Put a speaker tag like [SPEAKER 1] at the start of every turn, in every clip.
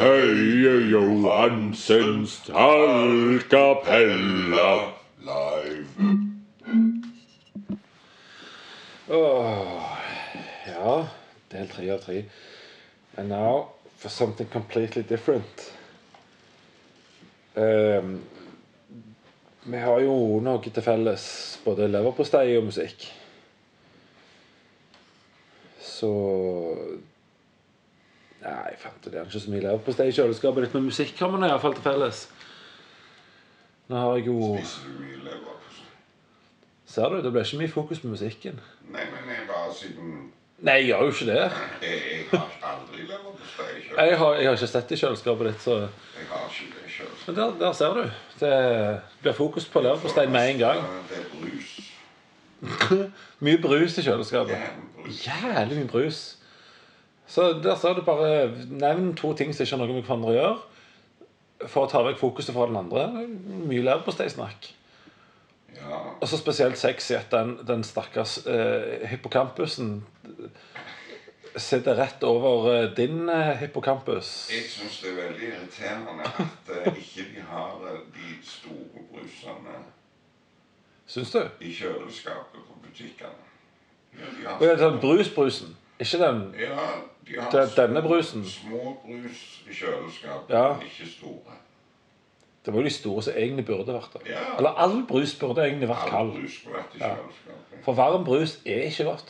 [SPEAKER 1] Bøye Johansens tallkapella live.
[SPEAKER 2] Åh, ja, del tre av tre. And now for something completely different. Ehm, vi har jo noe til felles, både leverpostei og musikk. Så Nei, jeg fant det er ikke så mye leverpostei i kjøleskapet ditt, men musikk har vi iallfall til felles. Nå har jeg jo
[SPEAKER 1] Spiser du mye leverpostei?
[SPEAKER 2] Ser du, det ble ikke mye fokus på musikken.
[SPEAKER 1] Nei, men jeg bare siden
[SPEAKER 2] Nei, jeg gjør jo ikke det.
[SPEAKER 1] Jeg, jeg har aldri leverpostei sjøl.
[SPEAKER 2] Jeg har, jeg har ikke sett det i kjøleskapet ditt, så
[SPEAKER 1] Jeg har ikke det sjøl.
[SPEAKER 2] Men der, der ser du. Det blir fokus på leverpostei med en gang.
[SPEAKER 1] Det er brus.
[SPEAKER 2] Mye brus i kjøleskapet.
[SPEAKER 1] Jævlig brus.
[SPEAKER 2] Jævlig mye brus. Så der ser du bare Nevn to ting som ikke har noe med hverandre å gjøre, for å ta vekk fokuset fra den andre. Mye leverposteisnakk.
[SPEAKER 1] Ja.
[SPEAKER 2] Og så spesielt sexy at den, den stakkars eh, hippocampusen sitter rett over eh, din eh, hippocampus.
[SPEAKER 1] Jeg syns det er veldig irriterende at eh, ikke de har eh, de store brusene
[SPEAKER 2] Syns du?
[SPEAKER 1] i kjøleskapet på butikkene. Ja, de
[SPEAKER 2] Og ja,
[SPEAKER 1] har,
[SPEAKER 2] den brusbrusen. Ikke den
[SPEAKER 1] ja, de har
[SPEAKER 2] Det er denne brusen.
[SPEAKER 1] Små brus i kjøleskapet,
[SPEAKER 2] Ja.
[SPEAKER 1] men ikke store.
[SPEAKER 2] Det var jo de store som egentlig burde vært der.
[SPEAKER 1] Ja.
[SPEAKER 2] Eller all brus burde egentlig vært
[SPEAKER 1] All
[SPEAKER 2] kald.
[SPEAKER 1] brus skulle vært i kjøleskapet.
[SPEAKER 2] For varm brus er ikke godt.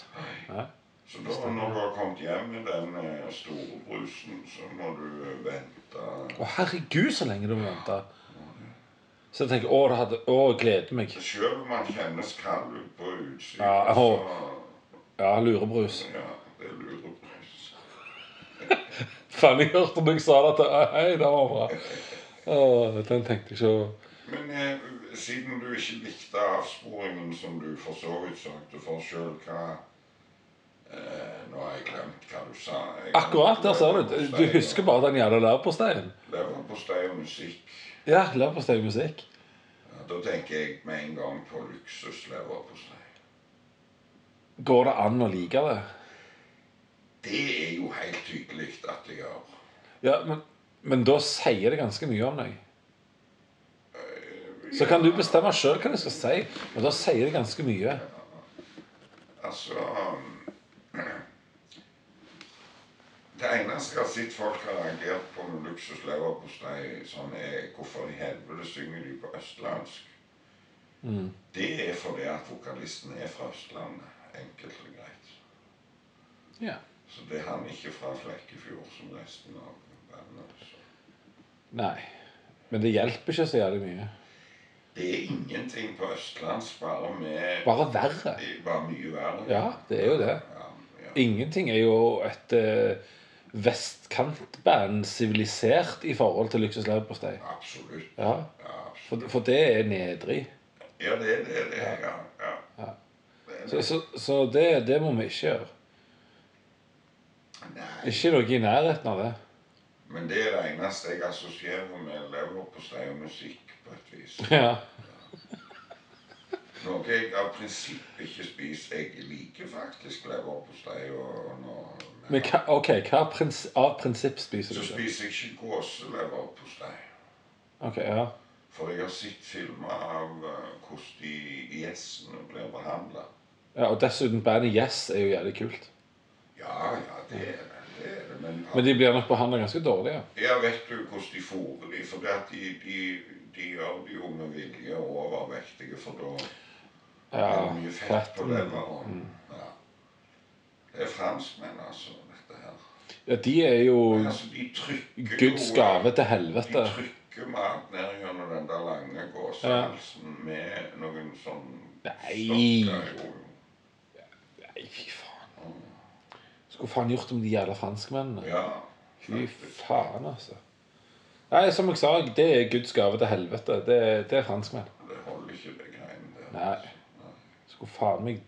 [SPEAKER 2] Nei.
[SPEAKER 1] Så da når du har kommet hjem med den eh, store brusen, så må du eh, vente
[SPEAKER 2] Å herregud, så lenge du må vente. Så jeg tenker å, det hadde, å jeg gleder meg.
[SPEAKER 1] Selv om man kjennes kald ut på utsiden,
[SPEAKER 2] Ja, og-
[SPEAKER 1] så
[SPEAKER 2] Ja, lurebrus.
[SPEAKER 1] Ja, det er lurebrus.
[SPEAKER 2] Faen, jeg hørte når jeg sa det til Hei, det var bra. Å, den tenkte jeg ikke å
[SPEAKER 1] Men eh, siden du ikke likte avsporingen som du for så vidt søkte for sjøl, hva eh, Nå har jeg glemt hva du sa. Jeg
[SPEAKER 2] Akkurat, der ser du. Du husker bare den jævla leverposteien.
[SPEAKER 1] Leverpostei og musikk.
[SPEAKER 2] Ja, leverpostei og musikk.
[SPEAKER 1] Ja, Da tenker jeg med en gang på luksusleverpostei.
[SPEAKER 2] Går det an å like det?
[SPEAKER 1] Det er jo helt tydelig at jeg gjør.
[SPEAKER 2] Ja, men, men da sier det ganske mye om deg.
[SPEAKER 1] Eh,
[SPEAKER 2] Så kan du bestemme sjøl hva du skal si, men da sier det ganske mye.
[SPEAKER 1] Altså um, Det eneste jeg har sett folk har reagert på med luksusleverpostei, sånn er hvorfor i helvete synger de på østlandsk.
[SPEAKER 2] Mm.
[SPEAKER 1] Det er fordi at vokalisten er fra Østlandet. Enkelt og greit.
[SPEAKER 2] Ja.
[SPEAKER 1] Så det er han ikke fra Flekkefjord, som resten av bandet. Så
[SPEAKER 2] Nei. Men det hjelper ikke så jævlig mye.
[SPEAKER 1] det er ingenting på østlandsk, bare med
[SPEAKER 2] Bare verre.
[SPEAKER 1] Bare mye verre.
[SPEAKER 2] Ja, det er jo det.
[SPEAKER 1] Ja, ja.
[SPEAKER 2] Ingenting er jo et eh, vestkantband sivilisert i forhold til Luksus leverpostei.
[SPEAKER 1] Absolutt.
[SPEAKER 2] Ja.
[SPEAKER 1] Ja, absolutt.
[SPEAKER 2] For, for det er nedrig.
[SPEAKER 1] Ja, det er det. det er, ja. ja. Det er
[SPEAKER 2] Så,
[SPEAKER 1] det.
[SPEAKER 2] så, så det, det må vi ikke gjøre.
[SPEAKER 1] Nei,
[SPEAKER 2] Ikke noe i nærheten av det.
[SPEAKER 1] men det er det eneste jeg assosierer med leverpostei og musikk, på et vis.
[SPEAKER 2] Ja.
[SPEAKER 1] Noe jeg av prinsipp ikke spiser. Jeg liker faktisk leverpostei og når,
[SPEAKER 2] Men hva, ok, hva prins, av prinsipp spiser
[SPEAKER 1] Så
[SPEAKER 2] du ikke?
[SPEAKER 1] spiser jeg ikke gåseleverpostei.
[SPEAKER 2] Ok, ja.
[SPEAKER 1] For jeg har sett filmer av eh, hvordan de gjessene blir behandla.
[SPEAKER 2] ja. Og dessuten, bandet Yes er jo jævlig kult.
[SPEAKER 1] Ja, ja, det er det. det, er det. Men,
[SPEAKER 2] Men de blir nok behandla ganske dårlig, ja.
[SPEAKER 1] Ja, vet du hvordan de fôrer de? For det at de, de, de gjør det jo med vilje og overvektige, for da er det mye fett på
[SPEAKER 2] men-
[SPEAKER 1] leveren. Ja. Det er franskmenn, altså, dette her.
[SPEAKER 2] Ja, de er jo
[SPEAKER 1] Men altså, de trykker
[SPEAKER 2] Guds
[SPEAKER 1] jo-
[SPEAKER 2] gave til helvete.
[SPEAKER 1] De trykker mat ned gjennom den der lange gåsehalsen med noen sånn
[SPEAKER 2] Nei.
[SPEAKER 1] stokker, jo.
[SPEAKER 2] Nei, fy faen. Skulle faen gjort det med de jævla franskmennene.
[SPEAKER 1] Ja.
[SPEAKER 2] Fy faen, altså. Nei, som jeg sa, det er Guds gave til helvete. Det, det er franskmenn.
[SPEAKER 1] Det holder ikke, det greiene der.
[SPEAKER 2] Nei. Skulle faen meg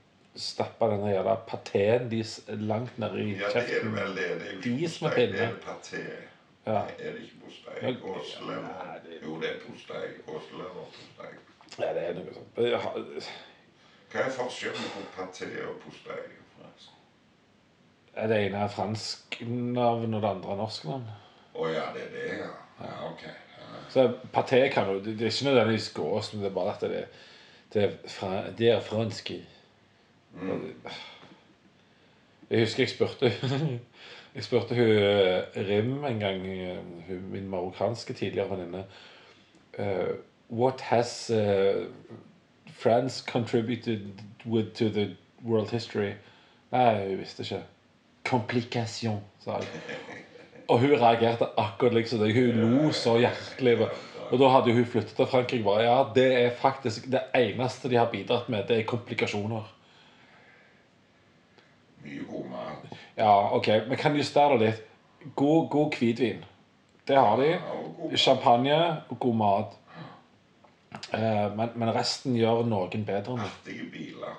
[SPEAKER 2] stappe den jævla patéen deres langt ned i
[SPEAKER 1] Ja, det er
[SPEAKER 2] kjeften.
[SPEAKER 1] vel det. Det er jo
[SPEAKER 2] De
[SPEAKER 1] ikke
[SPEAKER 2] som er
[SPEAKER 1] postei, det
[SPEAKER 2] pinne.
[SPEAKER 1] er paté.
[SPEAKER 2] Ja.
[SPEAKER 1] Nei, Er det ikke
[SPEAKER 2] Ja,
[SPEAKER 1] postei?
[SPEAKER 2] det- nei,
[SPEAKER 1] Gåselever?
[SPEAKER 2] det-
[SPEAKER 1] Jo, det er postei. Gåseleverpostei.
[SPEAKER 2] Ja, det er noe sånt. Jeg har-
[SPEAKER 1] Hva er forskjellen på paté og postei? forresten?
[SPEAKER 2] Er det ene er fransk navn, og det andre er norsk navn?
[SPEAKER 1] Å ja, det er det, ja.
[SPEAKER 2] Så Paté kan jo Det det er ikke nødvendigvis gåsen, det er bare at det, det, er, fra, det er fransk i
[SPEAKER 1] Mm.
[SPEAKER 2] Jeg husker jeg spurte Jeg spurte hun eh, Rim en gang, eh, hun, min marokkanske tidligere venninne eh, What has eh, France contributed with to the world history? Nei, hun visste ikke. Komplikasjon, sa jeg. Og hun reagerte akkurat liksom det. Hun lo så hjertelig. Og da hadde hun flyttet til Frankrike. bare, Ja, det er faktisk det eneste de har bidratt med, det er komplikasjoner.
[SPEAKER 1] Mye god mat.
[SPEAKER 2] Ja, ok, men kan justere det litt. God, god hvitvin. Det har de.
[SPEAKER 1] Ja, og god mat.
[SPEAKER 2] Champagne og god mat. Eh, men, men resten gjør noen bedre. enn det.
[SPEAKER 1] Artige biler.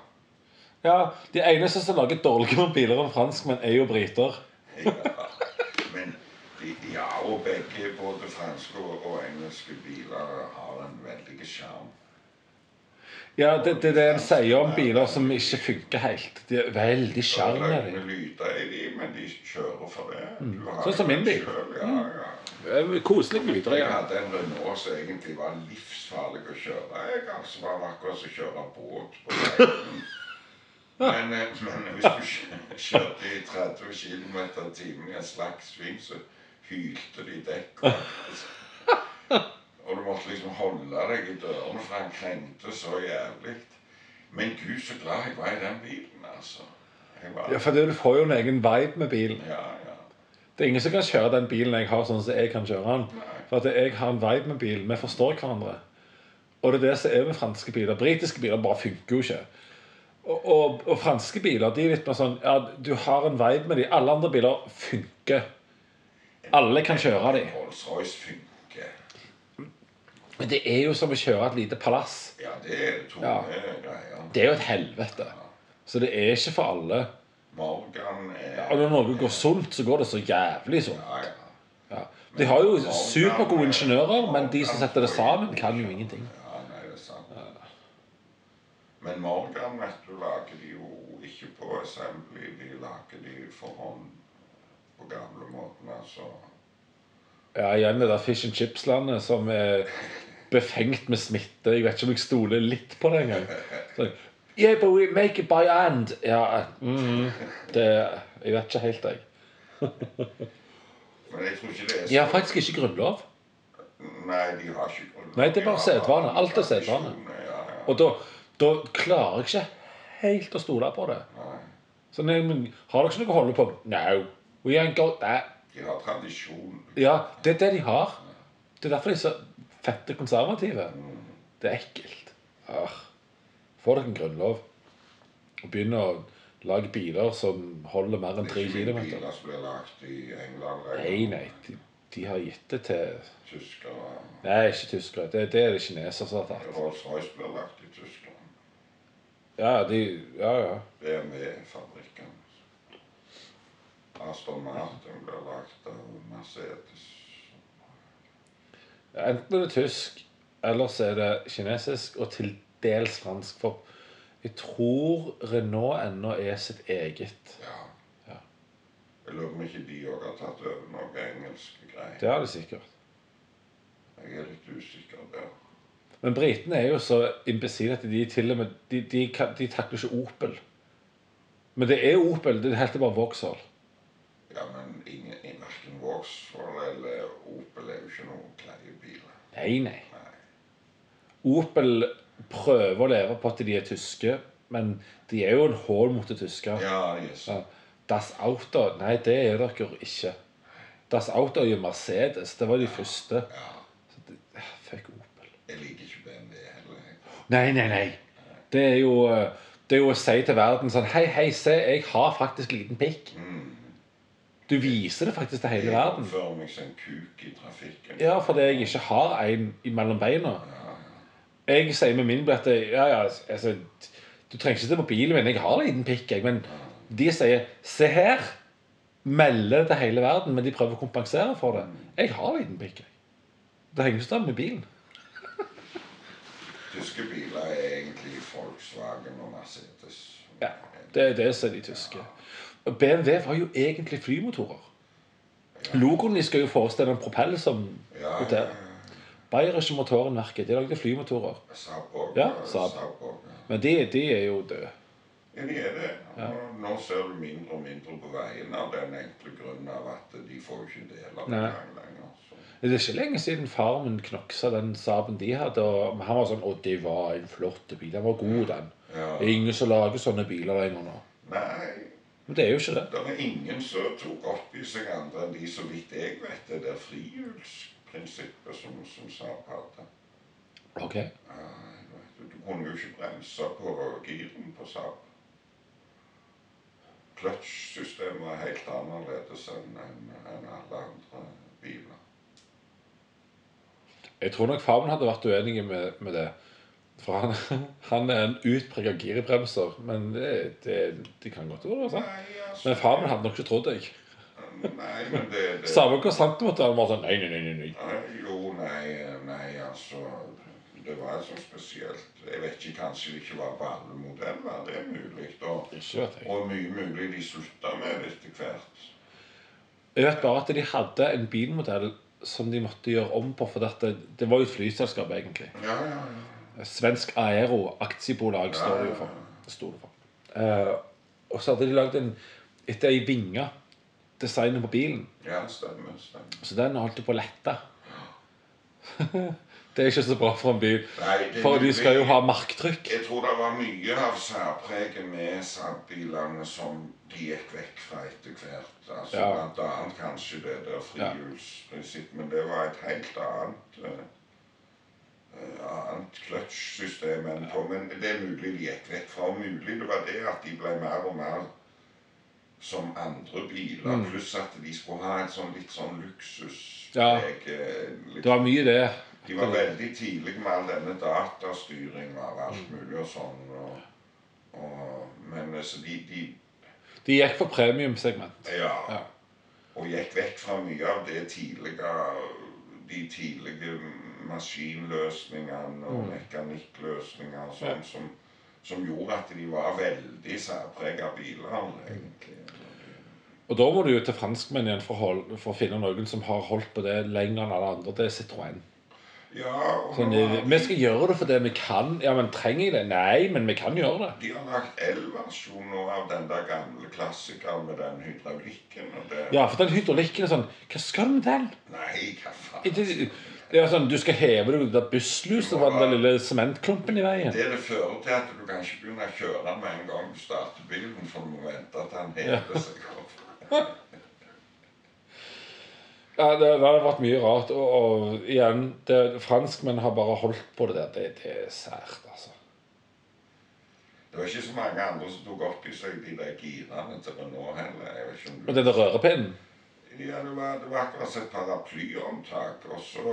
[SPEAKER 2] Ja, De eneste som lager dårligere biler enn franskmenn, er jo briter.
[SPEAKER 1] Ja. Men de, ja, og begge, både franske og, og engelske biler, har en veldig sjarm.
[SPEAKER 2] Ja, Det det er det en sier om biler som ikke funker helt. De er veldig
[SPEAKER 1] Sjarm
[SPEAKER 2] sjarmerende.
[SPEAKER 1] er lyder i de, men de kjører for det. Du har
[SPEAKER 2] Sånn som
[SPEAKER 1] jo
[SPEAKER 2] min bil.
[SPEAKER 1] selv, Ja, ja.
[SPEAKER 2] Eh, Koselig med lyder.
[SPEAKER 1] Jeg
[SPEAKER 2] ja.
[SPEAKER 1] hadde en Renault som egentlig var livsfarlig å kjøre. Jeg altså var akkurat som å kjøre båt på veien. Men, eh, men hvis du kjø- kjørte i 30 km i timen i en slakk sving, så hylte de dekk. Og du måtte liksom holde deg i dørene, for han krengte så jævlig. Men gud, så glad jeg var i den bilen, altså. Jeg var,
[SPEAKER 2] Ja, for Du får jo en egen vibe med bilen.
[SPEAKER 1] ja, ja.
[SPEAKER 2] Det er ingen som kan kjøre den bilen jeg har, sånn som jeg kan kjøre den.
[SPEAKER 1] Nei.
[SPEAKER 2] For at jeg har en vibe med bilen. Vi forstår hverandre. Og det er det som er med franske biler. Britiske biler bare funker jo ikke. Og, og, og franske biler de er litt mer sånn Ja, du har en vibe med dem. Alle andre biler funker. Alle kan kjøre dem.
[SPEAKER 1] Rolls-Royce funker.
[SPEAKER 2] Men det er jo som å kjøre et lite palass.
[SPEAKER 1] Ja, det er tunge
[SPEAKER 2] Ja.
[SPEAKER 1] greier.
[SPEAKER 2] Det er jo et helvete. Så det er ikke for alle.
[SPEAKER 1] Morgan er
[SPEAKER 2] Og når noe går sunt, så går det så jævlig sunt.
[SPEAKER 1] Ja, ja.
[SPEAKER 2] Ja. De har jo supergode ingeniører, men de som setter det sammen, kan jo ingenting.
[SPEAKER 1] ja, nei, det er sant. Men Morgan vet du, lager de jo ikke på assembly, de lager de for hånd på gamlemåten, altså.
[SPEAKER 2] Ja, igjen det der fish and chips-landet som er befengt med smitte. Jeg vet ikke om jeg stoler litt på det engang. Sånn, Yeah, but we make it by hand. Ja, mhm. det Jeg vet ikke helt, jeg.
[SPEAKER 1] Men jeg tror ikke det er sånn-
[SPEAKER 2] De har faktisk ikke grunnlov.
[SPEAKER 1] Nei, de har ikke grunnlag.
[SPEAKER 2] Nei, det er bare sedvane. Alt er sedvane.
[SPEAKER 1] Ja, ja.
[SPEAKER 2] Og da, da klarer jeg ikke helt å stole på det. Så nei, men har dere ikke noe å holde på? No. We ain't got that.
[SPEAKER 1] De har tradisjon.
[SPEAKER 2] Ja, det er det de har. Det er derfor de er så fette konservative. Det er ekkelt. Arr. Få dere en grunnlov. Og begynne å lage biler som holder mer enn
[SPEAKER 1] Det er
[SPEAKER 2] tre
[SPEAKER 1] ikke mye
[SPEAKER 2] kilometer.
[SPEAKER 1] biler som blir lagt i England,
[SPEAKER 2] Nei,
[SPEAKER 1] eller
[SPEAKER 2] nei. De, de har gitt det til
[SPEAKER 1] Tyskland.
[SPEAKER 2] Nei, ikke tyskere. Det, det er det kinesere som har tatt.
[SPEAKER 1] Rolls-Royce blir lagt i Tyskland.
[SPEAKER 2] Ja, de Ja, ja.
[SPEAKER 1] BMW-fabrikken. Aston Martin ble lagt av Mercedes.
[SPEAKER 2] Enten er det tysk, eller så er det kinesisk, og til dels fransk. For jeg tror Renault ennå er sitt eget.
[SPEAKER 1] Ja.
[SPEAKER 2] Ja.
[SPEAKER 1] Jeg lurer på om ikke de òg har tatt over noe engelske greier.
[SPEAKER 2] Det har de sikkert.
[SPEAKER 1] Jeg er litt usikker der.
[SPEAKER 2] Men britene er jo så imbesile at de til og med de, de, kan- de takler ikke Opel. Men det er Opel. Det heter bare Vauxhall.
[SPEAKER 1] Ja, men ingen, i verken Vauxhall eller Opel er jo ikke noen greie biler.
[SPEAKER 2] Nei, nei.
[SPEAKER 1] Nei.
[SPEAKER 2] Opel prøver å leve på at de er tyske, men de er jo en hål mot det tyske.
[SPEAKER 1] Ja, yes.
[SPEAKER 2] Ja. Das Auto Nei, det er dere jo ikke. Das Auto er jo Mercedes. Det var de første.
[SPEAKER 1] Ja.
[SPEAKER 2] Så det, ah, fuck Opel.
[SPEAKER 1] Jeg liker ikke BMW heller. jeg.
[SPEAKER 2] Nei, nei, nei. Det er jo eh, Det er jo å si til verden sånn Hei, hei, se, jeg har faktisk liten pikk. Du viser det faktisk til hele
[SPEAKER 1] Jeg
[SPEAKER 2] verden.
[SPEAKER 1] oppfører meg som en kuk i trafikken.
[SPEAKER 2] Ja, fordi jeg ikke har en mellom beina. Jeg sier med min billett ja, ja, altså, Du trenger ikke se på bilen min, jeg har liten pikk. Jeg, men de sier 'se her'. Melder det til hele verden, men de prøver å kompensere for det. Jeg har liten pikk. jeg. Det henger ikke sammen med bilen.
[SPEAKER 1] Tyske biler er egentlig Volkswagen og Mercedes.
[SPEAKER 2] Ja, Det er det som er de tyske. Og BMW var jo egentlig flymotorer. Logoen de skal jo forestille en propell som
[SPEAKER 1] Ja, ja,
[SPEAKER 2] roterer.
[SPEAKER 1] ja.
[SPEAKER 2] Bayerisch motoren merket. De lagde flymotorer.
[SPEAKER 1] Saab òg.
[SPEAKER 2] Ja, Saab.
[SPEAKER 1] òg.
[SPEAKER 2] Men de, de er jo døde.
[SPEAKER 1] Ja, de er det. Og Nå ser du mindre og mindre på veiene av den enkle grunnen av at de får jo ikke del av
[SPEAKER 2] Nei.
[SPEAKER 1] veien lenger. Så.
[SPEAKER 2] Det er ikke lenge siden far min knoksa den Saaben de hadde. og Han var sånn Å, det var en flott bil. Den var god, den. Det er
[SPEAKER 1] Ja.
[SPEAKER 2] ingen som lager sånne biler lenger nå.
[SPEAKER 1] Nei,
[SPEAKER 2] Men det er jo ikke det.
[SPEAKER 1] det er ingen som tok opp i seg andre enn de så vidt jeg vet, det der frihjulsprinsippet som, som Saab hadde.
[SPEAKER 2] Ok.
[SPEAKER 1] Nei, vet du, du kunne jo ikke bremse på giren på Saab. Kløtsjsystemet er helt annerledes enn enn- enn alle andre biler.
[SPEAKER 2] Jeg tror nok far min hadde vært uenig med, med det. For han, han er en utprega girebremser. Men det, det, det kan godt være sant.
[SPEAKER 1] Nei, altså,
[SPEAKER 2] Men far min hadde nok ikke trodd deg.
[SPEAKER 1] Nei, men det, det
[SPEAKER 2] Samme hvor sant det måtte være. han var sånn, Nei, nei, nei, nei, nei.
[SPEAKER 1] Nei, Jo, nei, nei, altså Det var så spesielt. Jeg vet ikke, kanskje det ikke var på alle modeller. Det er mulig. Og,
[SPEAKER 2] Ikke vet jeg.
[SPEAKER 1] og mye mulig de slutta med det etter hvert.
[SPEAKER 2] Jeg vet bare at de hadde en bilmodell som de måtte gjøre om på. For dette, det var jo et flyselskap, egentlig.
[SPEAKER 1] Ja, ja, ja.
[SPEAKER 2] Svensk Aero Aktiebolag står det jo for. Det sto det for. Eh, og så hadde de lagd en etter ei vinge designet på bilen.
[SPEAKER 1] Ja, stemmer. stemmer.
[SPEAKER 2] Så den holdt på å lette. det er ikke så bra for en bil.
[SPEAKER 1] Nei, det-
[SPEAKER 2] For de skal jo ha marktrykk.
[SPEAKER 1] Jeg tror det var mye av særpreget med Saab-bilene som de gikk vekk fra etter hvert. Altså,
[SPEAKER 2] Ja.
[SPEAKER 1] Blant annet kanskje det der frihjulsprinsippet, men det var et helt annet eh, eh, annet kløtsjsystem enn på. Men det er mulig de gikk vekk fra. Og mulig det var det at de ble mer og mer som andre biler,
[SPEAKER 2] Mm.
[SPEAKER 1] pluss at de skulle ha et sånn litt sånn
[SPEAKER 2] Ja.
[SPEAKER 1] luksuspreg. eh, litt
[SPEAKER 2] Det var mye det.
[SPEAKER 1] de var veldig tidlig med all denne datastyringen av alt
[SPEAKER 2] Mm.
[SPEAKER 1] mulig og sånn. Og, og, men så de, de
[SPEAKER 2] De gikk for premiumsegment.
[SPEAKER 1] ja,
[SPEAKER 2] Ja.
[SPEAKER 1] Og gikk vekk fra mye av det tidlige De tidlige maskinløsningene og
[SPEAKER 2] Mm.
[SPEAKER 1] mekanikkløsninger og sånn som, som gjorde at de var veldig særprega biler, egentlig.
[SPEAKER 2] Og da må du jo til franskmenn igjen for å, hol- for å finne noen som har holdt på det lenger enn alle andre. Det er Citroën.
[SPEAKER 1] Ja, og
[SPEAKER 2] Sånn,
[SPEAKER 1] nå har
[SPEAKER 2] eh, vi skal gjøre det fordi vi kan. Ja, men trenger jeg det? Nei, men vi kan gjøre det.
[SPEAKER 1] de har lagt elversjon nå av den der gamle klassikeren med den hydraulikken og det
[SPEAKER 2] Ja, for den hydraulikken er sånn Hva skal du med den?
[SPEAKER 1] Nei, hva faen?
[SPEAKER 2] Det, det er sånn, Du skal heve deg ut av bussluset fra den der lille sementklumpen i veien.
[SPEAKER 1] Det det fører til at du kan ikke begynne å kjøre med en gang du starter bilen, for du må vente at han hever seg opp.
[SPEAKER 2] Ja, det, det har vært mye rart. Og, og igjen, det, franskmenn har bare holdt på det der. Det, det er sært, altså.
[SPEAKER 1] Det var ikke så mange andre som tok opp i seg de der girene til Renault heller. Jeg vet ikke om du...
[SPEAKER 2] Og den der rørepinnen.
[SPEAKER 1] Ja, det var, det var akkurat som et paraplyomtak, og så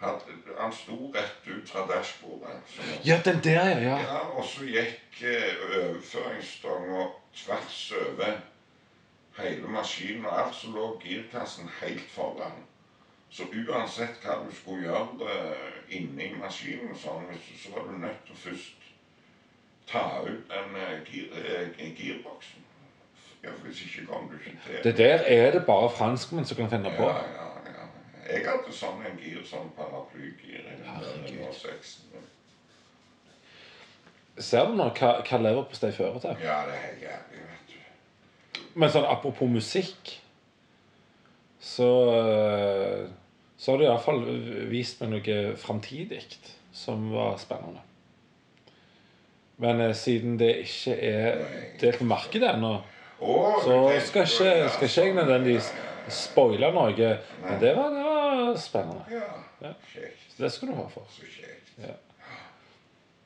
[SPEAKER 1] hadde han sto rett ut fra dashbordet. sånn.
[SPEAKER 2] Ja, den der, ja. ja.
[SPEAKER 1] Ja, og så gikk eh, overføringsstanga tvers over hele maskinen, og alt så lå girkassen helt foran. Så uansett hva du skulle gjøre det inni maskinen, og sånn, hvis- så var du nødt til å først ta ut den eh, gir, eh, girboksen. Ja, for Hvis ikke kom du ikke til.
[SPEAKER 2] Det der er det bare franskmenn som kan finne på.
[SPEAKER 1] Ja, ja, ja. Jeg hadde sånn en gir, sånn paraplygir. i den der
[SPEAKER 2] Herregud.
[SPEAKER 1] 106.
[SPEAKER 2] Ser du nå hva, hva leverpostei fører til?
[SPEAKER 1] Ja, det er helt jævlig, vet du.
[SPEAKER 2] Men sånn apropos musikk Så eh, Så har det iallfall vist meg noe framtidig som var spennende. Men eh, siden det ikke er
[SPEAKER 1] Nei.
[SPEAKER 2] delt på markedet ennå,
[SPEAKER 1] Åh,
[SPEAKER 2] så
[SPEAKER 1] det-
[SPEAKER 2] skal ikke,
[SPEAKER 1] ja,
[SPEAKER 2] skal ikke jeg
[SPEAKER 1] sånn,
[SPEAKER 2] nødvendigvis
[SPEAKER 1] ja, ja,
[SPEAKER 2] spoile noe. Men det var, det var spennende.
[SPEAKER 1] Ja,
[SPEAKER 2] Ja.
[SPEAKER 1] kjekt.
[SPEAKER 2] Så det skal du ha for.
[SPEAKER 1] Så kjekt.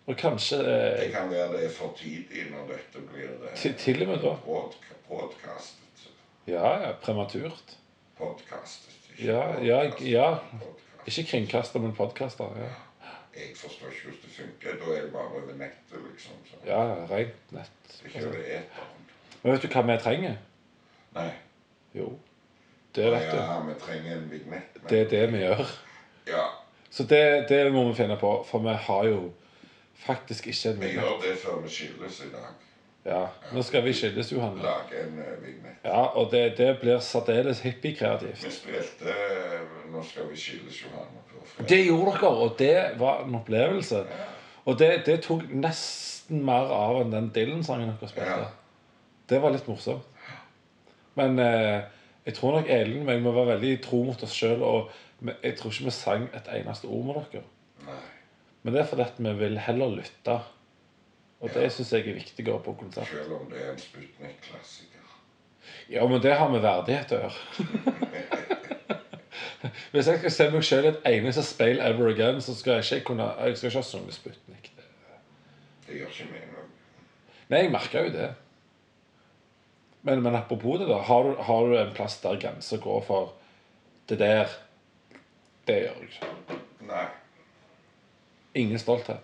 [SPEAKER 2] Og kanskje
[SPEAKER 1] Det
[SPEAKER 2] eh,
[SPEAKER 1] kan være det er for tidlig når dette blir eh,
[SPEAKER 2] til, til og med da
[SPEAKER 1] podk- podkastet.
[SPEAKER 2] Ja, ja, prematurt.
[SPEAKER 1] Podkastet. ikke
[SPEAKER 2] Ja, ja,
[SPEAKER 1] podkastet.
[SPEAKER 2] ja.
[SPEAKER 1] Podkast.
[SPEAKER 2] Ikke kringkaster, men podkaster. Ja.
[SPEAKER 1] Jeg forstår ikke hvordan det funker. Da er det bare over nettet, liksom. Så.
[SPEAKER 2] ja, rent nett.
[SPEAKER 1] Det er Ikke over eteren.
[SPEAKER 2] Men vet du hva vi trenger?
[SPEAKER 1] Nei.
[SPEAKER 2] Jo, det vet du.
[SPEAKER 1] Ja, vi trenger en vignett. men-
[SPEAKER 2] Det er det vi gjør.
[SPEAKER 1] Ja,
[SPEAKER 2] Så det, det må vi finne på, for vi har jo faktisk ikke en
[SPEAKER 1] vi
[SPEAKER 2] vignett.
[SPEAKER 1] gjør det før vi skilles i dag.
[SPEAKER 2] Ja. Nå skal vi skilles, Johanne.
[SPEAKER 1] Lage en eh, vignett.
[SPEAKER 2] Ja, og det, det blir særdeles hippiekreativt.
[SPEAKER 1] Vi spilte eh, 'Nå skal vi skilles, Johanne' på fredag.
[SPEAKER 2] Det gjorde dere, og det var en opplevelse. Og det, det tok nesten mer av enn den Dylan-sangen dere spilte.
[SPEAKER 1] Ja.
[SPEAKER 2] Det var litt morsomt. Men eh, jeg tror nok Elin og jeg må være veldig tro mot oss sjøl. Og vi- jeg tror ikke vi sang et eneste ord med dere.
[SPEAKER 1] Nei.
[SPEAKER 2] Men det er fordi at vi vil heller lytte. Og det syns jeg er viktigere på konsert.
[SPEAKER 1] Selv om det er en Sputnik-klassiker.
[SPEAKER 2] Ja, men det har med verdighet å gjøre. Hvis jeg skal se meg sjøl i et eneste speil ever again, så skal jeg ikke kunne Jeg skal ikke ha sunget Sputnik.
[SPEAKER 1] Det gjør ikke meg noe.
[SPEAKER 2] Nei, jeg merker jo det. Men, men apropos det, da. Har du, har du en plass der grensa går for det der? Det gjør jeg ikke.
[SPEAKER 1] Nei.
[SPEAKER 2] Ingen stolthet.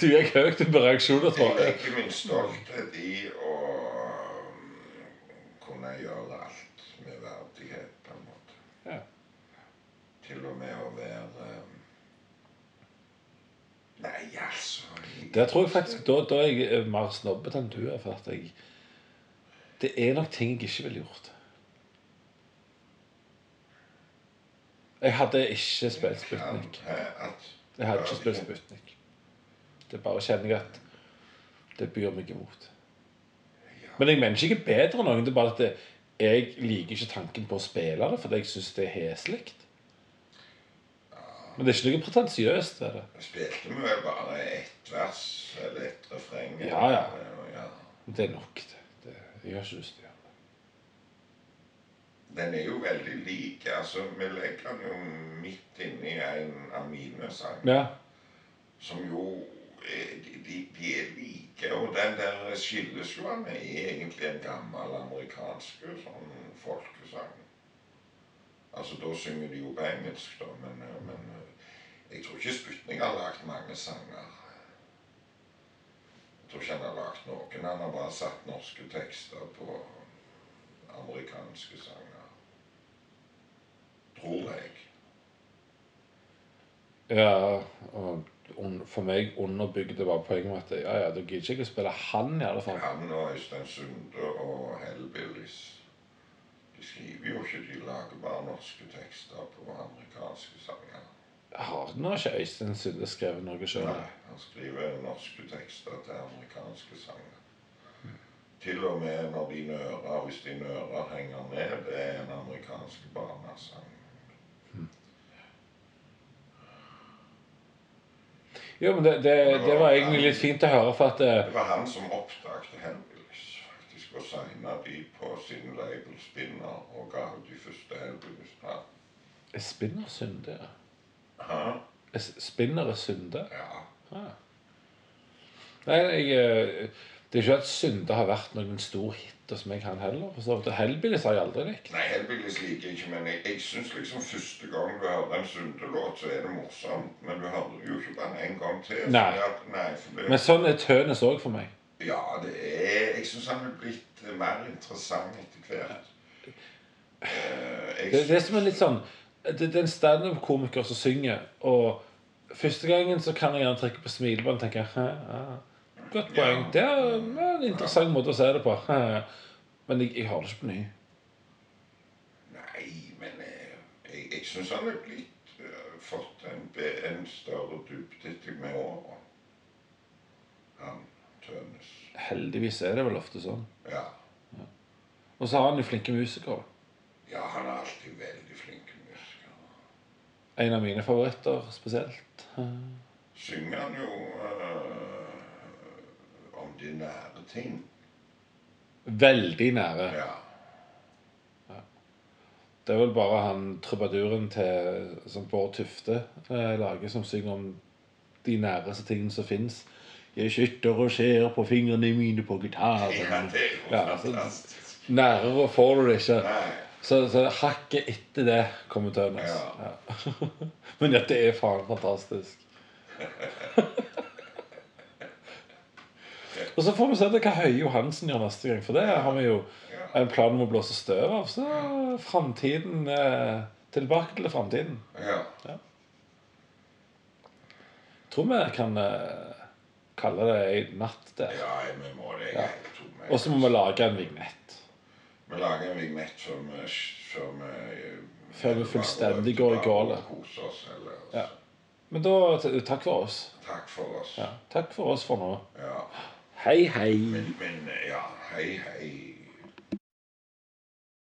[SPEAKER 2] Du gikk høyt ut på reaksjoner,
[SPEAKER 1] Jeg
[SPEAKER 2] tror jeg.
[SPEAKER 1] legger min stolthet i å um, kunne gjøre alt med verdighet, på en måte.
[SPEAKER 2] Ja.
[SPEAKER 1] Til og med å være um, Nei, altså jeg-
[SPEAKER 2] Der tror jeg faktisk da, da er jeg eh, mer snobbete enn du er. For at jeg Det er nok ting jeg ikke ville gjort. Jeg hadde ikke spilt Sputnik.
[SPEAKER 1] Kan, eh, at,
[SPEAKER 2] Jeg hadde ikke spilt Sputnik. Det er bare kjenner jeg at det byr meg imot. Men jeg mener ikke jeg er bedre enn noen. Det er bare at det, jeg liker ikke tanken på å spille det, fordi jeg syns det er heslig. Men det er ikke noe pretensiøst ved det.
[SPEAKER 1] Spilte vi vel bare ett vers eller ett refreng?
[SPEAKER 2] Ja, ja.
[SPEAKER 1] eller- ja.
[SPEAKER 2] Det er nok, det. det jeg har ikke lyst til å gjøre det.
[SPEAKER 1] Den er jo veldig lik. altså Vi legger den jo midt inni en av mine sanger.
[SPEAKER 2] Ja.
[SPEAKER 1] som jo er- de, de, de er like. Og den der skillesjoen er egentlig en gammel amerikansk sånn folkesang. Altså, da synger de jo på engelsk, da, men, eh, men eh, jeg tror ikke Sputnik har lagd mange sanger. Jeg tror ikke han har lagd noen. Han har bare satt norske tekster på amerikanske sanger. Tror jeg.
[SPEAKER 2] Ja, og un- for meg underbygde bare poenget med at ja, ja, da gidder ikke jeg å spille han, i alle fall.
[SPEAKER 1] Han og Øystein Sunde og Hellbillies. De skriver jo ikke, de lager bare norske tekster på amerikanske sanger.
[SPEAKER 2] Har nå ikke Øystein Sunde skrevet noe sjøl?
[SPEAKER 1] Nei, han skriver norske tekster til amerikanske sanger. Til og med når de nører, hvis de nører henger ned, det er en amerikansk barnesang.
[SPEAKER 2] Jo, men det, det, det var egentlig litt fint å høre, for at eh,
[SPEAKER 1] Det var han som oppdaget Hellbillies, faktisk, og signa de på sin label Spinner og ga ut de første Hellbillies-platene.
[SPEAKER 2] Jeg spinner sunde, ja.
[SPEAKER 1] Hæ?
[SPEAKER 2] Jeg s- Spinner er sunde?
[SPEAKER 1] Ja.
[SPEAKER 2] Ah. Nei, jeg eh, Det er ikke at Sunde har vært noen stor hit hos meg, han heller. For så vidt. Og Hellbillies har jeg aldri likt.
[SPEAKER 1] Nei, Hellbillies liker jeg ikke, men jeg, jeg syns liksom første gang du hører en Sunde-låt, så er det morsomt. Men du hører jo ikke bare en gang til.
[SPEAKER 2] Nei.
[SPEAKER 1] fordi at- nei for det,
[SPEAKER 2] Men sånn er Tønes òg for meg.
[SPEAKER 1] ja, det er Jeg syns han er blitt eh, mer interessant etter hvert. Eh, jeg
[SPEAKER 2] Det er det som er
[SPEAKER 1] synes-
[SPEAKER 2] litt sånn Det, det er en standup-komiker som synger, og første gangen så kan jeg gjerne trekke på smilebånd og tenke «Hæ, ja, Godt poeng.
[SPEAKER 1] Ja.
[SPEAKER 2] Det er en interessant måte å se det på. Men jeg, jeg har det ikke på ny.
[SPEAKER 1] Nei, men eh, jeg, jeg syns han er blitt eh, fått en, be- en større dybde til med åra. Han Tønes.
[SPEAKER 2] Heldigvis er det vel ofte sånn.
[SPEAKER 1] Ja.
[SPEAKER 2] Og så har han jo flinke musikere.
[SPEAKER 1] ja, han er alltid veldig flink musiker.
[SPEAKER 2] En av mine favoritter spesielt.
[SPEAKER 1] synger han jo eh, om de nære ting.
[SPEAKER 2] Veldig nære.
[SPEAKER 1] Ja.
[SPEAKER 2] Det er vel bare han trubaduren til som Bård Tufte eh, lager, som synger om de næreste tingene som fins. Jeg skytter og ser på fingrene mine på
[SPEAKER 1] ja,
[SPEAKER 2] gitaren.
[SPEAKER 1] det er jo
[SPEAKER 2] Ja, altså-
[SPEAKER 1] fantastisk.
[SPEAKER 2] Nærere får du det ikke.
[SPEAKER 1] Nei,
[SPEAKER 2] Så, så hakket etter det kommer Tønes.
[SPEAKER 1] Ja.
[SPEAKER 2] Ja. Men dette er faen fantastisk. Og så får vi se det hva Høie Johansen gjør neste gang, for det har vi jo
[SPEAKER 1] ja.
[SPEAKER 2] en plan om å blåse støv av. Så framtiden eh, Tilbake til framtiden.
[SPEAKER 1] Ja.
[SPEAKER 2] Tror vi kan eh, kalle det ei natt der.
[SPEAKER 1] ja, vi må det.
[SPEAKER 2] Ja.
[SPEAKER 1] Jeg tror vi-
[SPEAKER 2] Og så må vi lage en vignett.
[SPEAKER 1] Vi lager en eh, vignett før vi Før vi,
[SPEAKER 2] Før vi fullstendig går i gale.
[SPEAKER 1] Koser oss, eller
[SPEAKER 2] Ja. Men da t- takk for oss.
[SPEAKER 1] Takk for oss.
[SPEAKER 2] Ja. Takk for oss for nå.
[SPEAKER 1] Ja.
[SPEAKER 2] Hei, hei.
[SPEAKER 1] Men, men ja, hei, hei.